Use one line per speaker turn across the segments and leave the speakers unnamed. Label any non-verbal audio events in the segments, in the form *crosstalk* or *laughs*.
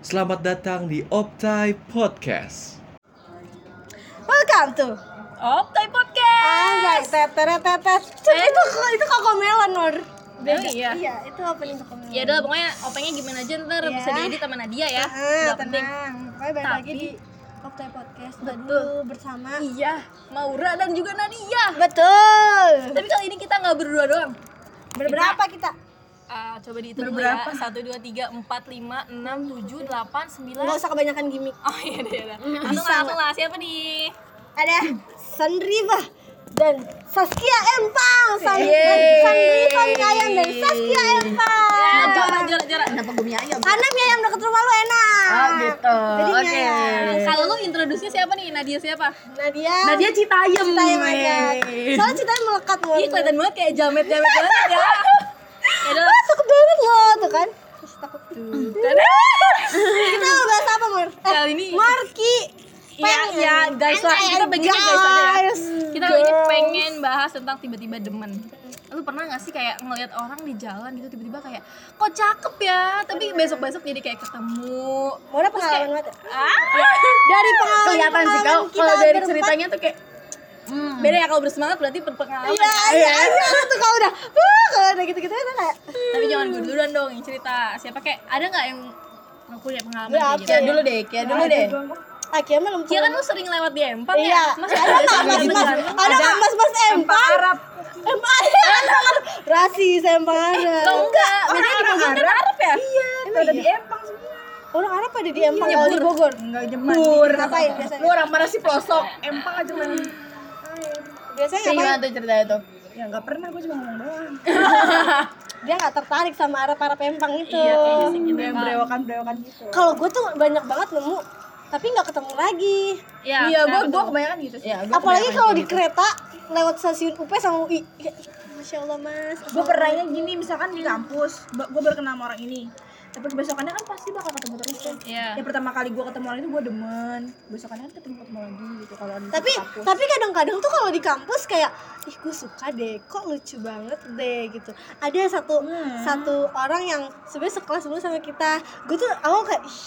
selamat datang di Optai Podcast.
Welcome to
Optai Podcast.
Anjay Teteret Tetet Cuk, itu, itu Kokomelon Nur
Oh, iya.
Iya, itu opening Kokomelon
Ya udah pokoknya opengnya gimana aja ntar
Iya.
bisa diedit sama Nadia ya.
Ah,
Nggak penting.
tenang Pokoknya balik lagi
Tapi-
di Koptai Podcast
Betul.
Betul bersama
Iya, Maura dan juga Nadia.
Betul
Tapi kali ini kita nggak berdua doang.
Berberapa kita?
Ah, coba dihitung dulu
Berberapa?
ya. 1 2 3 4 5 6 7 8
Nggak
9.
usah kebanyakan gimmick
Oh iya deh. iya, deh. Langsung
Bisa.
langsung lah siapa nih?
Ada Sandriva dan Saskia Empang San-
Yeay.
Sandriva mie ayam dan Saskia Empang
Ya, Jora jora jora.
Karena mie ayam deket rumah lu enak Oh gitu Jadi mie ayam
Kalau lu introduksi siapa nih? Nadia siapa?
Nadia
Nadia Citayem.
Ah. Citayam aja Soalnya Citayam melekat Nur.
Ih, kelihatan banget kayak jamet-jamet banget ya. Ya udah. *laughs*
Ah, takut banget loh, tuh kan. Terus takut. *laughs*
Iya,
Kita mau bahas apa, Mur? Eh,
Kali Ya, ini-
Marki.
Iya,
pengen.
ya, guys lah. Kita
Anjay,
begini guys aja ya.
guys.
Kita lagi ini pengen bahas tentang tiba-tiba demen. Lu pernah gak sih kayak ngelihat orang di jalan gitu tiba-tiba kayak kok cakep ya, tapi besok-besok jadi kayak ketemu.
Murnya pengalaman banget. ya?
Ah,
Dari pengalaman
kelihatan sih
pengalaman
kalau kalau
kita
dari
berempat.
ceritanya tuh kayak
beda ya kalau bersemangat berarti berpengalaman.
Iya, iya, iya, tuh kalau udah. Uh, kalau udah gitu-gitu kan kayak.
Tapi jangan gue duluan dong yang cerita. Siapa kayak ada nggak yang ngaku punya pengalaman
Ya,
kayak
apa
gitu?
ya?
dulu deh, kayak dulu deh.
Akhirnya belum
Iya kan lu sering lewat di M4
Iya,
ya? Masih
ada nggak mas mas? Ada nggak mas mas empang? Arab, empang Arab, *laughs* rasis empang Iya. Arab.
Kok enggak? Biasanya di Bogor kan Arab ya?
Emang iya? Orang Arab ada
Iya,
di empang kalau di Bogor.
Enggak
Bur,
jemur.
ngapain biasanya?
Lu orang mana sih pelosok? Empang aja main.
Iya.
Biasanya ngapain?
Kayak Iya, gimana tuh ceritanya tuh? Ya enggak pernah gue cuma ngomong doang.
dia nggak tertarik sama arah para pempang itu.
Iya,
Gue yang berewokan-berewokan gitu.
Kalau gue tuh banyak banget nemu, tapi nggak ketemu lagi.
Iya,
Iya, gue
kenapa
gue
tuh?
kebanyakan gitu sih. Iya,
Apalagi kalau di kereta lewat stasiun UP sama UI. Ya, Masya Allah mas.
gue pernahnya gini misalkan di kampus gue baru kenal sama orang ini tapi kebesokannya kan pasti bakal ketemu terus kan
Iya.
ya pertama kali gue ketemu orang itu gue demen besokannya kan ketemu ketemu lagi gitu kalau di
Tapi
kampus
tapi kadang-kadang tuh kalau di kampus kayak ih gue suka deh, kok lucu banget deh gitu. Ada satu
Hmm.
satu orang yang sebenarnya sekelas dulu sama kita. Gue tuh awal kayak ih,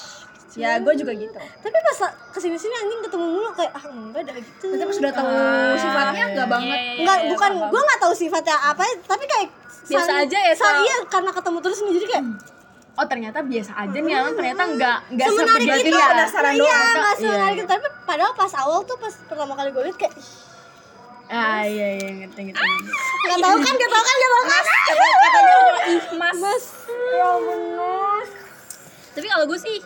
lucu
ya gue juga gitu
tapi pas kesini sini anjing ketemu mulu kayak ah enggak ada gitu
tapi pas sudah tahu
Ah.
sifatnya enggak banget
Iya, iya,
enggak
iya,
bukan
paham.
gue nggak tahu sifatnya apa ya, tapi kayak
Biasa aja ya,
sa-
Sal.
iya karena ketemu terus nih jadi kayak
Oh ternyata biasa aja nih, orang ternyata enggak enggak
semenarik
sepegat
itu
ya.
Nah, iya
doang.
nggak
Iya,
semenarik
iya.
itu tapi padahal pas awal tuh pas pertama kali gue lihat kayak ih,
Ah iya iya ngerti ngerti. ngerti.
nggak tahu kan nggak tahu kan nggak tahu kan
Katanya cuma ih mas.
ya benar
Tapi kalau gue sih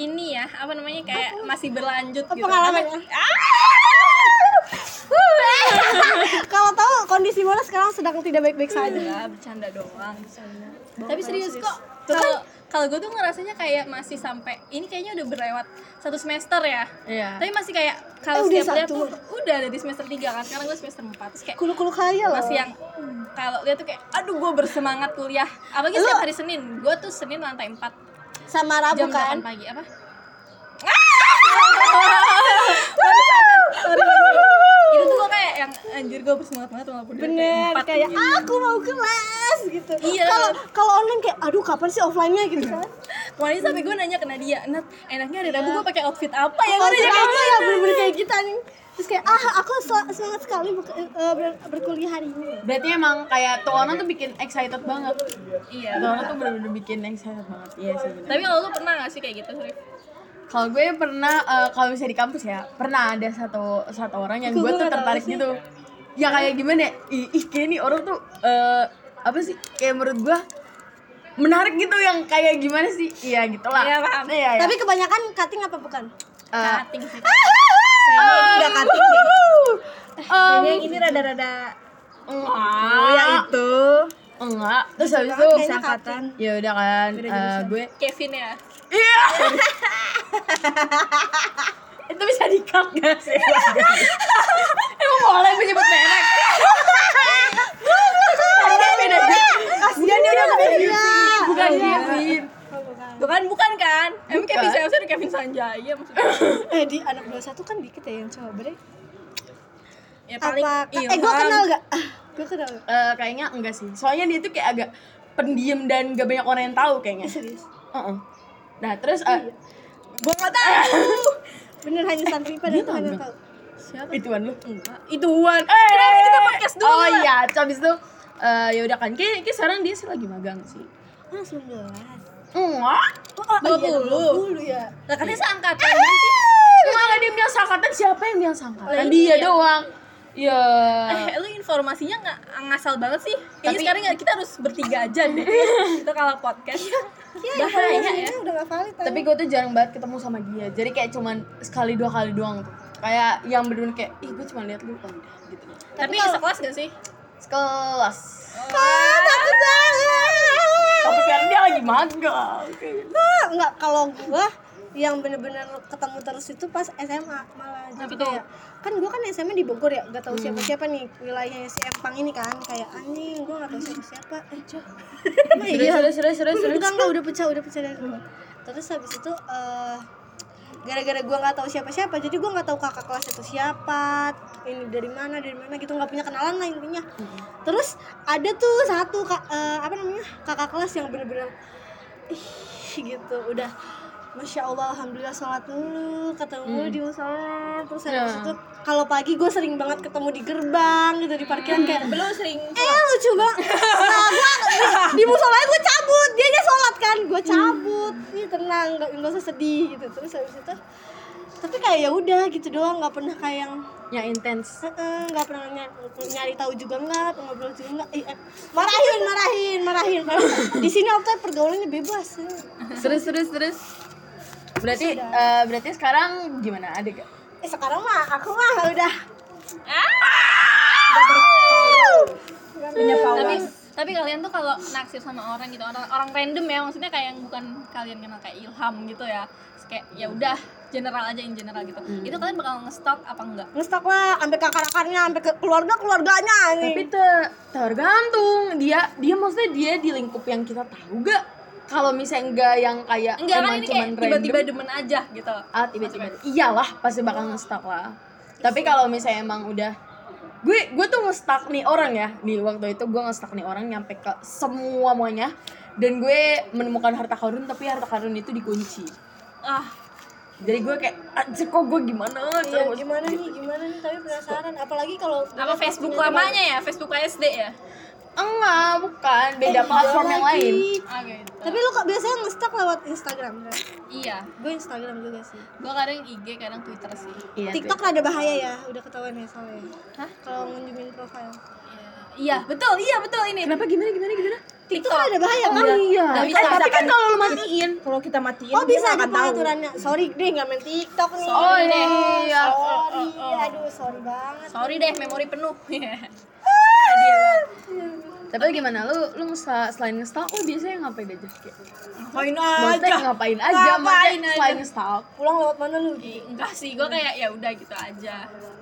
ini ya, apa namanya kayak masih berlanjut gitu.
pengalamannya kalau tahu kondisi Mona sekarang sedang tidak baik-baik
Iya.
saja
Enggak, bercanda doang. Tapi serius kok. Kalau kalau gue tuh ngerasanya kayak masih sampai ini kayaknya udah berlewat satu semester ya.
Iya.
Tapi masih kayak
Eh,
kalau
udah
setiap lihat
satu.
tuh udah ada di semester 3 kan. Sekarang gue semester 4. Terus kayak
kulu-kulu kaya loh
masih yang kalau lihat tuh kayak aduh gue bersemangat kuliah. Apalagi setiap hari Senin. Gue tuh Senin lantai 4
sama Rabu
jam
kan
8 pagi apa? itu tuh gue kayak yang anjir gue bersemangat banget walaupun udah
bener
empat
kayak
gitu.
aku mau kelas gitu
Iya.
kalau kalau online kayak aduh kapan sih offline-nya gitu kan
kemarin sampai gue nanya ke Nadia Nat enaknya hari Rabu gue pakai outfit apa ya
kalau
gue nanya
kita
kayak
apa
gitu.
ya bener-bener kayak kita nih terus kayak ah aku sel- semangat sekali buka- eh, ber- berkuliah hari ini
Berarti emang kayak tuh orang tuh bikin excited banget.
iya
Tuh orang tuh bener-bener bikin excited banget. Iya sih. bener.
tapi kalau lu pernah gak sih kayak gitu Rif?
Kalau gue pernah eh, kalau misalnya di kampus ya, pernah ada satu satu orang yang gue tuh tertarik gitu. Ya kayak gimana? ya, Ih, ih kayak nih orang tuh eh, apa sih? Kayak menurut gue menarik gitu yang kayak gimana sih? Iya gitulah.
Iya, paham.
Iya, iya.
tapi kebanyakan cutting apa bukan
Eh,
cutting sih
udah cutting
em,
yang ini rada-rada
enggak,
ya itu
enggak. Terus habis itu
bisa angkatan
ya udah kan eh,
*laughs*
gue
gitu Kevin ya *laughs*
Iya. itu bisa di cut
Iya.
gak sih? Emang boleh menyebut merek? Karena beda
kasihan dia udah kuliah
bukan Kevin.
bukan bukan kan emang Kevin
Bukan.
siapa sih Kevin Sanjaya maksudnya
*laughs* eh di anak 21 kan dikit ya yang coba deh
ya paling
apa eh gue
Ilham.
kenal gak gue kenal gak?
Eh, kayaknya enggak sih. Soalnya dia tuh kayak agak pendiam dan gak banyak orang yang tahu kayaknya.
serius
Heeh. Nah, terus eh,
Gua nggak tahu.
bener hanya santripa dan Tuhan yang tahu
Siapa?
Ituan lu.
Iya. Enggak.
Ituan. Eh.
Kenapa kita podcast dulu?
Oh iya, terus habis itu eh ya udah kan. Kayak kayak sekarang dia sih lagi magang sih.
ah sembilan belas
Enggak.
oh,
Dua
iya,
puluh.
puluh ya
Lah kan dia seangkatan.
Enggak dia bilang sangkatan siapa yang bilang sangkatan?
Iya. Lah,
Dia
iya.
doang. Ya.
Eh, lu informasinya nggak ngasal banget sih. Kayaknya
Tapi-
sekarang nggak- kita harus bertiga aja
*laughs*
deh. kita kalah podcast.
Iya.
Bahaya
Informasinya
ya.
iya, udah gak valid
Tapi gue tuh jarang banget ketemu sama dia. Jadi kayak cuman sekali dua kali doang tuh. Kayak yang berdua kayak, ih gue cuma lihat lu oh, udah gitu.
Tapi sekelas gak sih?
Sekelas.
ah, takut banget
Tapi sekarang dia lagi magang.
Ah, enggak kalau gua yang bener-bener ketemu terus itu pas SMA malah jadi
betul.
kayak kan gua kan SMA di Bogor ya gak tahu
Hmm.
siapa-siapa nih wilayahnya si Empang ini kan kayak anjing gua gak tahu siapa-siapa eh
*laughs*
cok Emang iya?
Serius, serius, serius, serius.
Enggak, enggak, udah pecah, udah pecah dari dulu. Terus habis itu eh, gara-gara gua nggak tahu siapa-siapa, jadi gua nggak tahu kakak kelas itu siapa, ini dari mana, dari mana gitu, nggak punya kenalan lah intinya.
Hmm.
Terus ada tuh satu ka- eh, apa namanya kakak kelas yang bener-bener ih gitu, udah Masya Allah, Alhamdulillah sholat dulu, ketemu
Hmm.
di musola Terus habis
Ya.
itu, kalau pagi gue sering banget ketemu di gerbang gitu, di parkiran kayak
Hmm. Belum sering.
Eh lucu banget. Nah, gua di, di musolanya gue cabut, dia aja sholat kan, gue
Hmm.
cabut. Ih tenang, nggak nggak usah sedih gitu. Terus habis itu, tapi kayak ya udah gitu doang, nggak pernah kayak yang
Yang intens.
"Eh-eh," nggak pernah ny- nyari tahu juga nggak, ngobrol juga nggak. Eh, eh, marahin, marahin, marahin. di sini Opta pergaulannya bebas. ya.
Serius, serius, serius. Berarti eh, berarti sekarang gimana? Ada gak?
Eh sekarang mah aku mah udah.
Punya
Tapi
pawas.
tapi kalian tuh kalau naksir sama orang gitu orang orang random ya maksudnya kayak yang bukan kalian kenal kayak Ilham gitu ya Terus kayak ya udah general aja yang general gitu
Hmm.
itu kalian bakal ngestok apa enggak
Ngestok lah, sampai ke akarnya, sampai ke keluarga keluarganya nih. Iya,
Tapi te- tergantung dia dia maksudnya dia di lingkup yang kita tahu gak? Kalau misalnya enggak yang kayak
enggak kan
emang
ini kayak
cuman
tiba-tiba
random,
demen aja gitu
ah tiba-tiba iyalah pasti bakal ngestak lah. Tapi kalau misalnya emang udah gue gue tuh ngestak nih orang ya di waktu itu gue ngestak nih orang nyampe ke semua muanya dan gue menemukan harta karun tapi harta karun itu dikunci
ah
jadi gue kayak anjir kok gue gimana
Iya,
terus
gimana nih, gimana nih, tapi penasaran. Apalagi kalau
apa Facebook lamanya ya Facebook SD ya
enggak bukan beda platform yang lain
ah gitu
Tapi lu kok biasanya nge-stalk lewat Instagram kan?
iya
Gue Instagram juga sih.
gua kadang IG kadang Twitter Iya sih
Iya,
TikTok rada bahaya ya, udah ketahuan ya soalnya.
Hah?
Kalau ngunjungin profile.
iya betul iya betul ini
Kenapa gimana gimana gimana?
TikTok rada bahaya kan?
iya.
Nggak bisa,
Eh, tapi kan
misalkan-
kalau lu matiin.
Kalau kita matiin
Oh
Iya, dia
bisa
nggak
ada
akan tahu.
pengaturannya. Sorry deh nggak main TikTok nih.
Oh iya.
Sorry, aduh sorry banget.
sorry deh memori penuh *laughs*
Tapi gimana lu lu nge- selain ngestalk lu biasanya ngapain aja? Kayak,
Ngapain
Maksudnya
aja.
ngapain aja?
Ngapain
Maksudnya selain ngestalk.
Pulang lewat mana lu? Gi?
enggak sih gua kayak ya udah gitu aja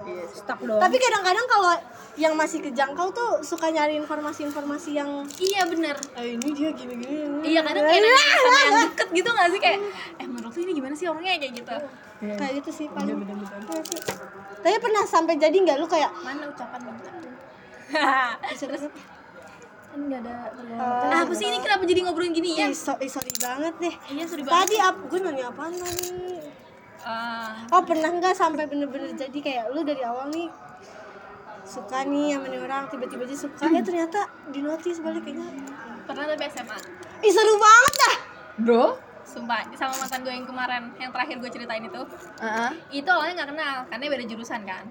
Iya.
Stuck dong.
Tapi kadang-kadang kalau yang masih kejangkau tuh suka nyari informasi-informasi yang
iya bener
eh, ini dia gini-gini.
Iya kadang kayak nanya sama yang deket gitu gak sih kayak eh menurut lu ini gimana sih orangnya kayak gitu
kayak gitu sih paling Iya sih. tapi pernah sampai jadi nggak lu kayak
mana ucapan *laughs* minta
terus
Kan nah apa sih ini kenapa jadi ngobrolin gini ya
ih so- ih, sorry Iya. banget deh
iya sorry banget
tadi apa gue nanya apa nih
Ah,
oh pernah nggak sampai bener-bener jadi kayak lu dari awal nih suka nih sama nih orang tiba-tiba aja suka ya ternyata di notis balik kayaknya
pernah tapi SMA
ih seru banget dah
Bro?
sumpah sama mantan gue yang kemarin yang terakhir gue ceritain itu
Heeh.
itu awalnya nggak kenal karena beda jurusan kan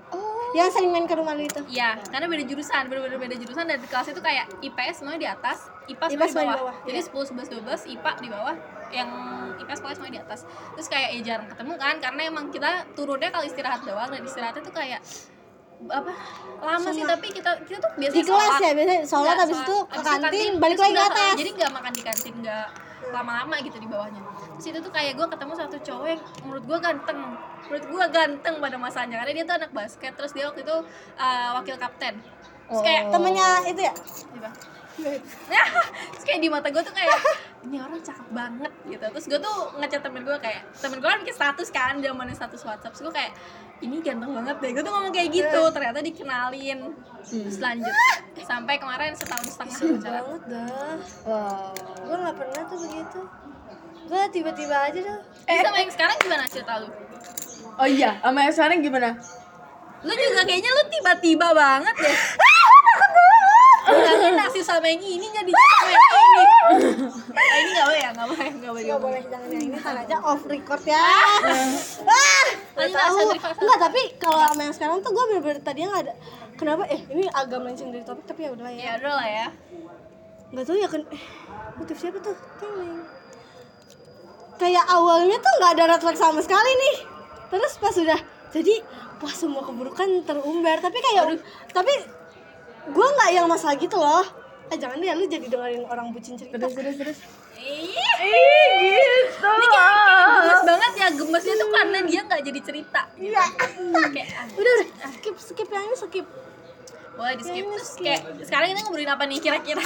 yang sering main ke rumah lu itu
Iya, karena beda jurusan, bener-bener beda jurusan dan kelasnya tuh kayak IPS semuanya di atas, IPA
IPA
semuanya di
semua
bawah.
di bawah,
Jadi 10, 11, 12 IPA di bawah, yang IPS pokoknya semuanya di atas. Terus kayak ya jarang ketemu kan, karena emang kita turunnya kalau istirahat doang dan istirahatnya tuh kayak apa lama sih tapi kita kita tuh biasa
di kelas ya biasanya sholat habis itu ke kantin balik lagi ke atas
jadi nggak makan di kantin nggak lama-lama gitu di bawahnya terus itu tuh kayak gue ketemu satu cowok yang menurut gue ganteng menurut gue ganteng pada masanya karena dia tuh anak basket terus dia waktu itu uh, wakil kapten terus kayak
temennya itu ya
Iya, Bang. Ya, terus kayak di mata gue tuh kayak ini orang cakep banget gitu terus gue tuh ngechat temen gue kayak temen gue kan bikin status kan dia mana status WhatsApp terus gue kayak ini ganteng banget deh gue tuh ngomong kayak gitu
Iya.
ternyata dikenalin terus lanjut sampai kemarin setahun setengah
seru
pacaran
banget dah
Wow.
gue nggak pernah tuh begitu gue tiba-tiba tiba-tiba aja tuh
Terus sama yang sekarang gimana cerita lu?
Oh iya, sama yang sekarang gimana?
Lu juga kayaknya lu tiba-tiba banget ya. Bilangin naksir sama yang ini jadi sama yang
*laughs*
ini. Ah, ini nggak boleh ya, nggak boleh, nggak boleh.
nggak boleh jangan yang ini kan aja off record ya *laughs* ah nggak
Lanjut,
tahu
Ashanti, Fasa.
nggak tapi kalau sama yang sekarang tuh gue bener-bener tadinya nggak ada kenapa eh ini agak melenceng dari topik tapi ya udah
Ya
ya
udah lah ya.
nggak tahu ya kan eh, motif siapa tuh Tengleng. kayak awalnya tuh nggak ada red flag sama sekali nih terus pas sudah jadi wah semua keburukan terumbar tapi kayak tapi gue nggak yang masalah gitu loh eh jangan deh lu jadi dengerin orang bucin cerita
Terus terus terus.
Ih,
Ih, gitu.
Ini kayak, kayak gemes banget ya, gemesnya tuh karena dia nggak jadi cerita. Iya. Kayak ah,
udah udah skip skip yang ini skip
boleh di skip terus kayak sekarang kita ngobrolin apa nih kira-kira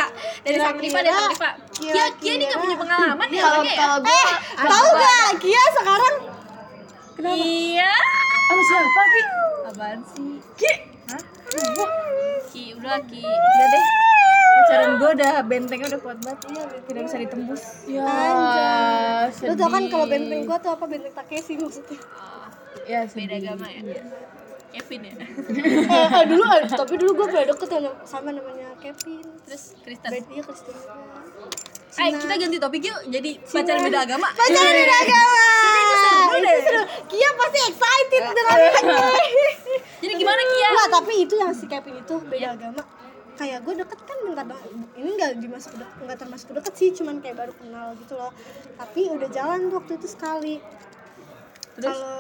dari
Kira-kira,
Sakrifa dan Sakrifa. Kia Kia ini nggak punya pengalaman ya
Kalau
orangnya ya.
kalau gue
Eh, Tahu gak Kia sekarang
Iya.
sama siapa Ki?
Apaan sih?
Ki. Iya.
Ki, udah Ki.
Udah deh. Pacaran gue udah bentengnya udah kuat banget. Iya, Tidak bisa ditembus.
Ya,
Lu tau kan
sedih.
kalau benteng gua tuh apa benteng Takeshi maksudnya
Oh,
ya,
beda
sedih.
agama ya. Kevin
*laughs*
ya.
eh, eh, dulu eh, tapi dulu gua pernah deket sama- sama namanya Kevin
Terus Kristen.
Beda dia Kristen juga.
Ayo kita ganti topik yuk. Jadi pacaran beda agama.
Pacaran beda agama Ini seru Kia pasti excited *laughs* dengan ini
Jadi gimana Kia? Iya.
Enggak, tapi itu yang si Kevin itu beda agama. Kayak gue deket kan bentar banget. Ini enggak dimasuk deket, enggak termasuk deket sih, cuman kayak baru kenal gitu loh. Tapi udah jalan tuh waktu itu sekali. Kalau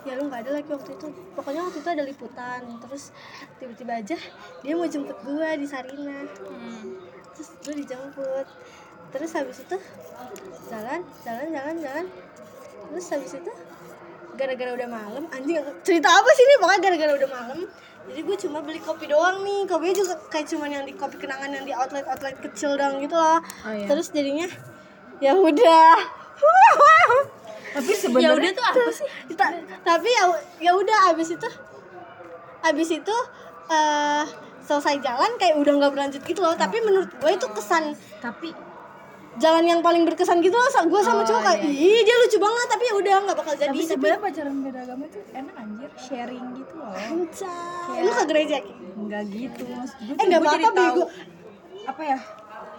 ya lu nggak ada lagi waktu itu. Pokoknya waktu itu ada liputan. Terus tiba-tiba aja dia mau jemput gue di Sarina.
Hmm.
Terus gue dijemput. Terus habis itu jalan, jalan, jalan, jalan. Terus habis itu gara-gara udah malam anjing cerita apa sih ini pokoknya gara-gara udah malam jadi gue cuma beli kopi doang nih kopinya juga kayak cuman yang di kopi kenangan yang di outlet outlet kecil doang gitu loh
iya.
terus jadinya ya udah
*laughs* Tapi
Ya
sebenarnya
udah tuh apa sih?
Ta- tapi ya ya udah abis itu abis itu eh selesai jalan kayak udah nggak berlanjut gitu loh tapi menurut gue itu kesan
Tapi
jalan yang paling berkesan gitu loh gue
Oh,
sama cowok kayak
iya.
ih dia lucu banget tapi ya udah nggak bakal jadi
tapi sebenarnya pacaran beda agama itu enak anjir, sharing gitu loh.
Anjay, lu ke gereja Ki?
Enggak gitu, maksud gue
Eh, nggak
gue Iya. jadi
apa-apa,
tahu
Bego.
apa ya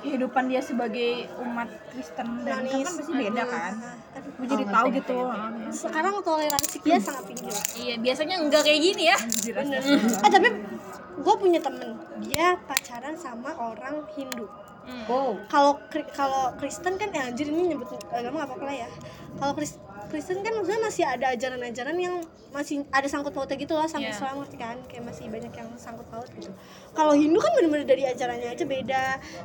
kehidupan dia sebagai umat Kristen dan Islam kan pasti beda kan.
Aduh.
Gue jadi tahu gitu. ah.
Sekarang toleransi dia sangat tinggi.
Iya, biasanya enggak kayak gini ya.
Iya.
Bener. Eh tapi gue punya temen, dia pacaran sama orang Hindu.
wow.
Kalau Kri- kalau Kristen kan ya anjir ini nyebut agama nggak apa-apa lah ya. Kalau Kris- Kristen kan maksudnya masih ada ajaran-ajaran yang masih ada sangkut pautnya gitu loh sama
Iya.
Islam ngerti kan kayak masih banyak yang sangkut paut gitu. Kalau Hindu kan bener-bener dari ajarannya aja beda,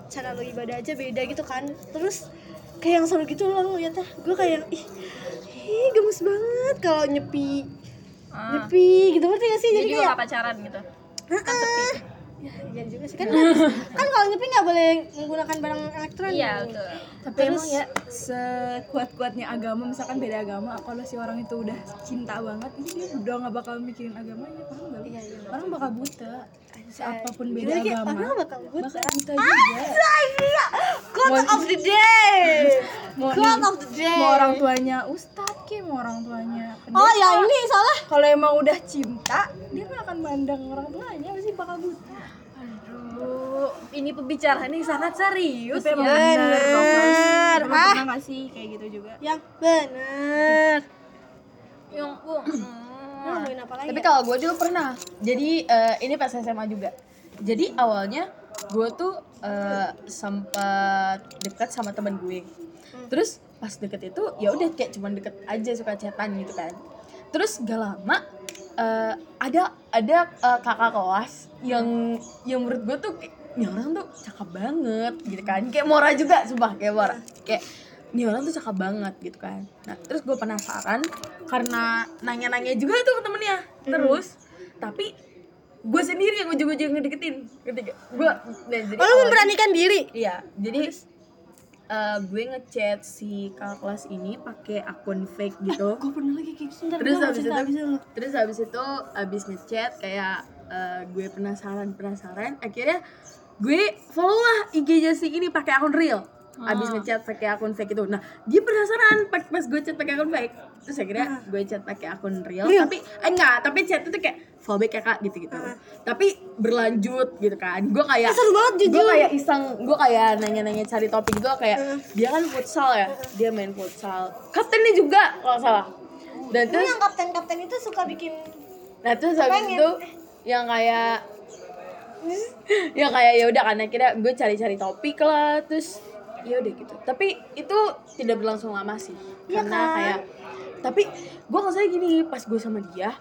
cara lo ibadah aja beda gitu kan. Terus kayak yang seru gitu loh ngeliatnya gue kayak ih, ih gemes banget kalau nyepi
Ah,
nyepi gitu ngerti gak sih
jadi
jadi
juga
kayak
nggak pacaran gitu.
Kan Ya, iya juga sih kan harus- kan kalau nyepi nggak boleh menggunakan barang elektronik.
Iya, betul.
Tapi emang ya sekuat-kuatnya agama misalkan beda agama kalau si orang itu udah cinta banget ini dia udah nggak bakal mikirin agamanya paham gak? lu?
Iya, iya.
Orang bakal buta apapun
Jadi
beda
kayak
agama
orang bakal buta.
bakal buta
ah,
juga.
Quote of the day.
Mau,
Quote of the day.
mau orang tuanya ustadz kayak mau orang tuanya pendeta.
Oh ya ini salah.
kalau emang udah cinta dia nggak akan mandang orang tuanya pasti bakal buta.
Aduh, ini pembicaraan yang sangat serius
Tapi emang
ya.
bener, bagus.
Bener.
Emang
Ah,
pernah nggak sih kayak gitu juga?
yang benar.
Yang
Lu
Hmm.
ngomongin apa lagi?
Tapi
ya?
kalau gue juga pernah. Jadi eh, ini pas SMA juga. Jadi awalnya gue tuh eh, sempat dekat sama temen gue. Terus pas deket itu ya udah kayak cuman deket aja suka chatan gitu kan. Terus gak lama eh, ada ada eh, kakak kelas yang yang menurut gue tuh kayak, nih orang tuh cakep banget gitu kan. Kayak Mora juga sumpah kayak Mora. Kayak nih orang tuh cakep banget gitu kan. Nah, terus gue penasaran karena nanya-nanya juga tuh ke temennya.
Hmm.
Terus tapi gue sendiri yang ujung-ujung ngedeketin ketiga gue
Oh, lu memberanikan diri.
nah, Iya, jadi eh, gue ngechat si kakak kelas ini pakai akun fake gitu.
Gue pernah lagi kayak gitu.
terus habis itu, terus habis itu habis ngechat kayak eh, gue penasaran penasaran. Akhirnya gue follow lah IG-nya si ini pakai akun real. abis ngechat pakai akun fake itu nah dia penasaran pak- pas gue chat pakai akun fake terus akhirnya gue chat pakai akun real,
Real.
tapi eh enggak tapi chat itu kayak fallback ya kak gitu gitu tapi berlanjut gitu kan gue kayak
Eh, seru banget
gue
jujur Mm.
kayak iseng gue kayak nanya-nanya cari topik gitu kayak dia kan futsal ya dia main futsal kaptennya juga kalau nggak salah dan
Ini
terus
yang kapten-kapten itu suka bikin
nah terus habis
pengen.
itu yang kayak
Hmm?
ya kayak ya udah karena kira gue cari-cari topik lah terus ya udah gitu tapi itu tidak berlangsung lama sih
Iya
karena
kan?
kayak tapi gue nggak gini pas gue sama dia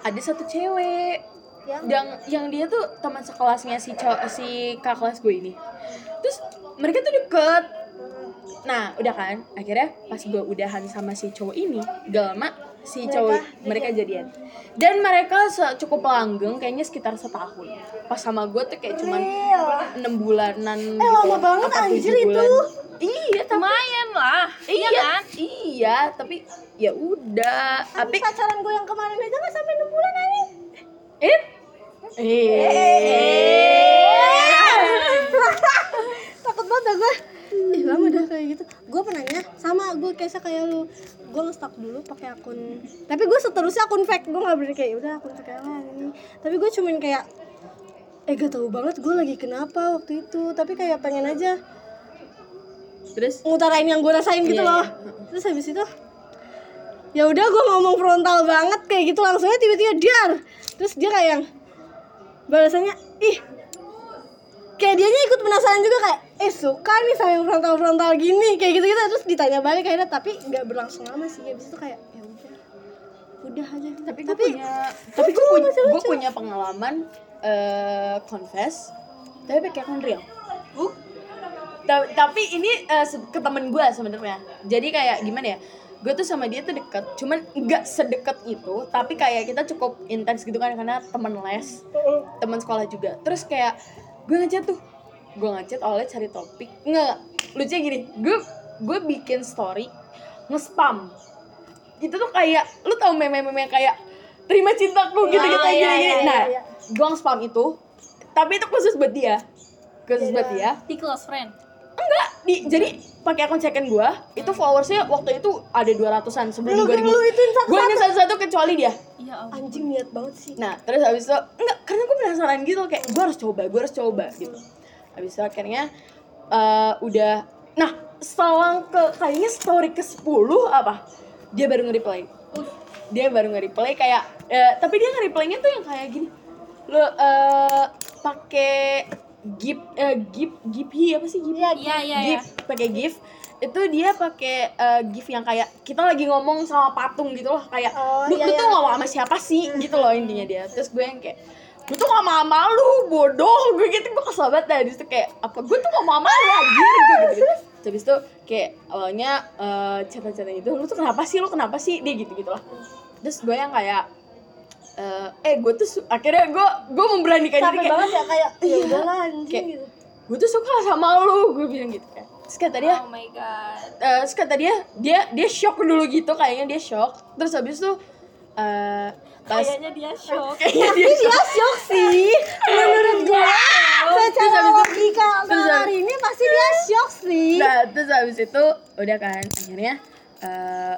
ada satu cewek
Yang?
yang yang dia tuh teman sekelasnya si cow- si kak kelas gue ini terus mereka tuh deket nah udah kan akhirnya pas gue udahan sama si cowok ini gak lama si cowok mereka jadian dan mereka se- cukup langgeng kayaknya sekitar setahun pas sama gue tuh kayak cuman
Real.
enam bulanan gitu.
Eh, lama banget,
apa tujuh
anjir, itu.
bulan. iya tapi
lumayan lah
iya kan iya tapi ya udah
tapi
tapi
pacaran gue yang kemarin aja nggak sampai 6 bulan anjing
eh eh
takut banget dah gue Ih, lama dah kayak gitu gue penanya sama gue kayak kayak lu gue nge-stalk dulu pakai akun tapi gue seterusnya akun fake gue nggak beli kayak udah akun fake lah ini tapi gue cuman kayak eh gak tau banget gue lagi kenapa waktu itu tapi kayak pengen aja
terus
ngutarain yang gue rasain gitu
Iya,
loh terus habis itu ya udah gue ngomong frontal banget kayak gitu langsungnya tiba-tiba diar terus dia kayak yang balasannya ih kayak dianya ikut penasaran juga kayak eh suka nih sama yang frontal frontal gini kayak gitu gitu terus ditanya balik akhirnya tapi nggak berlangsung lama sih habis itu kayak ya udah udah aja
tapi gue
tapi
punya tapi gue
lucu,
punya
lucu,
gue
lucu.
punya pengalaman eh confess tapi pakai akun real Bu- Ta- tapi ini eh, se- ke temen gue sebenarnya jadi kayak gimana ya gue tuh sama dia tuh deket cuman nggak sedekat itu tapi kayak kita cukup intens gitu kan karena temen les teman sekolah juga terus kayak gue ngechat tuh gue ngechat oleh cari topik nggak lucunya gini gue gue bikin story nge-spam itu tuh kayak lu tau meme-meme yang kayak terima cintaku gitu gitu
iya,
gini gini
iya,
nah
iya.
gue nge-spam itu tapi itu khusus buat dia khusus
Iya.
buat dia
di close friend
di, jadi pakai akun second gue itu followersnya waktu itu ada
lu
200an sebelum
gue
2000
lu ituin satu
gue ini satu-satu kecuali dia
iya Allah.
anjing niat banget sih
Nah, terus habis itu enggak karena gue penasaran gitu kayak gue harus coba, gue harus coba gitu. Habis itu akhirnya eh, udah nah, selang ke kayaknya story ke-10 apa? Dia baru nge-reply. Dia baru nge-reply kayak eh, tapi dia nge-replaynya tuh yang kayak gini. Lo eh pakai gif eh gif giphi apa sih gif?
iya iya iya
gif pakai gif itu dia pakai eh, gif yang kayak kita lagi ngomong sama patung gitu loh kayak
Oh,
lu,
iya, iya.
lu
Hmm.
tuh ngomong sama siapa sih gitu loh intinya dia terus gue yang kayak gue tuh ngomong sama lu bodoh gue gitu gue kesel banget dah Terus tuh kayak apa gue tuh ngomong sama lu anjir gue gitu, gitu. Terus habis itu kayak awalnya eh cerita-cerita itu lu tuh kenapa sih lu kenapa sih dia gitu gitu lah terus gue yang kayak eh, eh gue tuh su- akhirnya gue gue memberanikan diri
capek
kayak Iya.
banget ya kayak ya udahlah anjing
Kayak-
gitu
gue tuh suka sama lu gue bilang gitu kan terus kata dia
oh my god
eh terus kata dia dia dia shock dulu gitu kayaknya dia shock terus habis itu eh pas
kayaknya dia shock
*laughs*
*laughs* kayaknya dia shock
dia shock sih menurut gue secara
habis itu-
logika
terus habis-
hari ini pasti dia shock sih
nah, terus habis itu udah kan akhirnya eh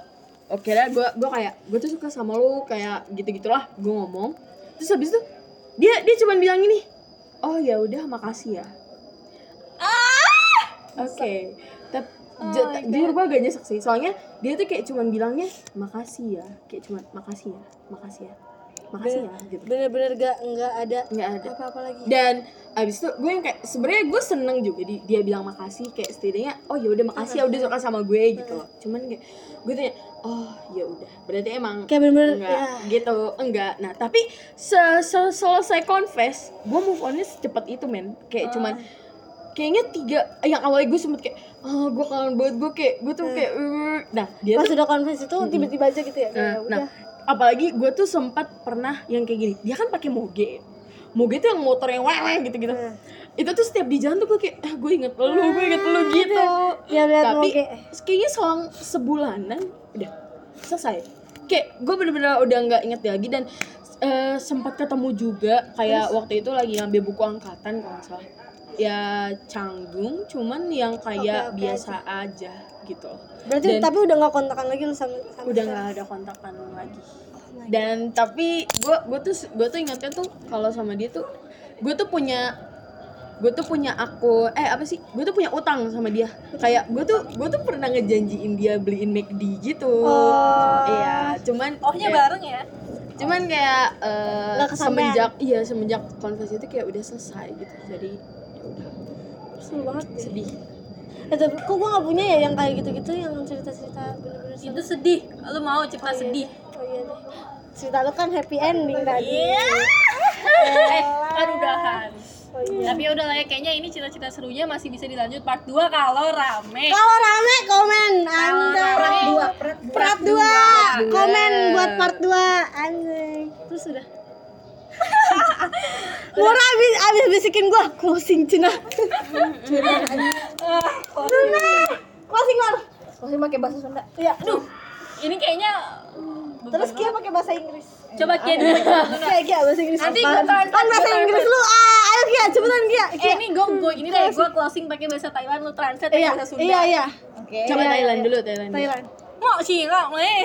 oke lah gue gue kayak gue tuh suka sama lu kayak gitu gitulah gue ngomong terus habis itu dia dia cuman bilang gini oh ya udah makasih ya oke tapi jujur gue agak nyesek sih soalnya dia tuh kayak cuman bilangnya makasih ya kayak cuman makasih ya makasih ya makasih ya gitu
bener-bener gak nggak ada
nggak ada
apa-apa lagi
dan abis itu gue yang kayak sebenarnya gue seneng juga di, dia bilang makasih kayak setidaknya oh ya udah makasih ya udah suka sama gue gitu loh cuman kayak gue tanya oh ya udah berarti emang
kayak bener-bener
enggak
ya
gitu enggak nah tapi se- se- selesai confess gue move onnya secepat itu men
Ah.
kayak cuman kayaknya tiga yang awalnya gue sempet kayak ah gue kangen banget gue kayak gue tuh kayak "Eh." nah dia
Ah. pas
tuh
udah konfes itu tiba-tiba aja gitu ya kayak
Nah,
ya
nah,
udah
apalagi gue tuh sempat pernah yang kayak gini. Dia kan pakai moge. Moge tuh yang motor yang wewe gitu-gitu.
Hmm.
Itu tuh setiap di jalan tuh gue kayak, ah, gue inget lu, gue inget lu gitu.
ya lihat
Tapi
moge
kayaknya selang sebulanan udah selesai. Kayak gue bener-bener udah nggak inget lagi dan eh, eh, sempat ketemu juga kayak waktu itu lagi ngambil buku angkatan kalau nggak salah ya canggung cuman yang kayak
Oke, oke
biasa aja gitu
Berarti
Dan-
tapi udah nggak kontakan lagi lu sama sama
udah
sekarang?
nggak ada kontakan lagi
Oh my
dan tapi gue gue tuh gue tuh ingatnya tuh kalau sama dia tuh gue tuh punya gue tuh punya aku eh apa sih gue tuh punya utang sama dia kayak gue tuh gue tuh pernah ngejanjiin dia beliin McD gitu
Oh.
iya cuman
Ohnya
kayak-
bareng ya?
cuman kayak eh,
Nggak kesampean.
semenjak iya semenjak konversi itu kayak udah selesai gitu jadi ya udah
Seru banget deh.
sedih
Eh, tapi kok gue gak punya ya yang kayak gitu-gitu yang cerita-cerita bener-bener seru?
Itu sedih. Lu mau
Oh,
cerita
iya
sedih?
deh. Oh iya deh. Cerita lu kan happy ending tadi.
Eh, kan udahan.
Oh iya.
Tapi udah lah ya, kayaknya ini cerita-cerita serunya masih bisa dilanjut part 2 kalau rame.
Kalau rame komen Anda. Part 2. Komen buat part 2 anjing. Terus udah. *laughs* Murah abis, abis bisikin gua closing Cina. Cina. Closing Mor.
Pasti pakai bahasa Sunda.
Iya, aduh.
Ini kayaknya
Terus Kia pakai bahasa Inggris.
coba Kia dulu.
*laughs* Kia Kia bahasa Inggris.
Nanti
apaan?
gua translate,
Kan bahasa
gua
Inggris lu. ah, Ayo Kia, cepetan Kia.
Eh,
Kia.
ini gue gue ini deh, gue closing pakai bahasa Thailand, lu translate pakai
Iya,
bahasa Sunda.
iya, iya.
coba Thailand dulu Thailand, dulu.
Thailand.
Mau eh. sih nggak mulai.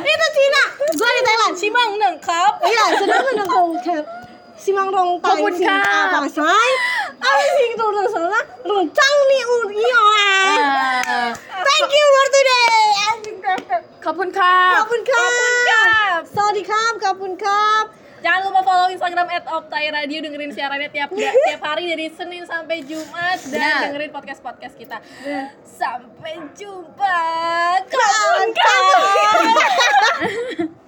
Itu Cina. Gua di Thailand.
Si Mang Neng Kap.
Iya, sedang sedang kau kan. Simang rong tai
Maupun
sing
kap.
apa say? Apa sih itu orang sana? Rong cang ni un iyo. eh.
Ah,
Thank you for today. Asik, asik.
kapun kap
Kapun kap. Sorry kap, kapun kap.
Jangan lupa follow Instagram @optairadio dengerin siarannya tiap tiap hari dari Senin sampai Jumat dan
Benar.
dengerin podcast-podcast kita. Sampai jumpa.
Kapun kap.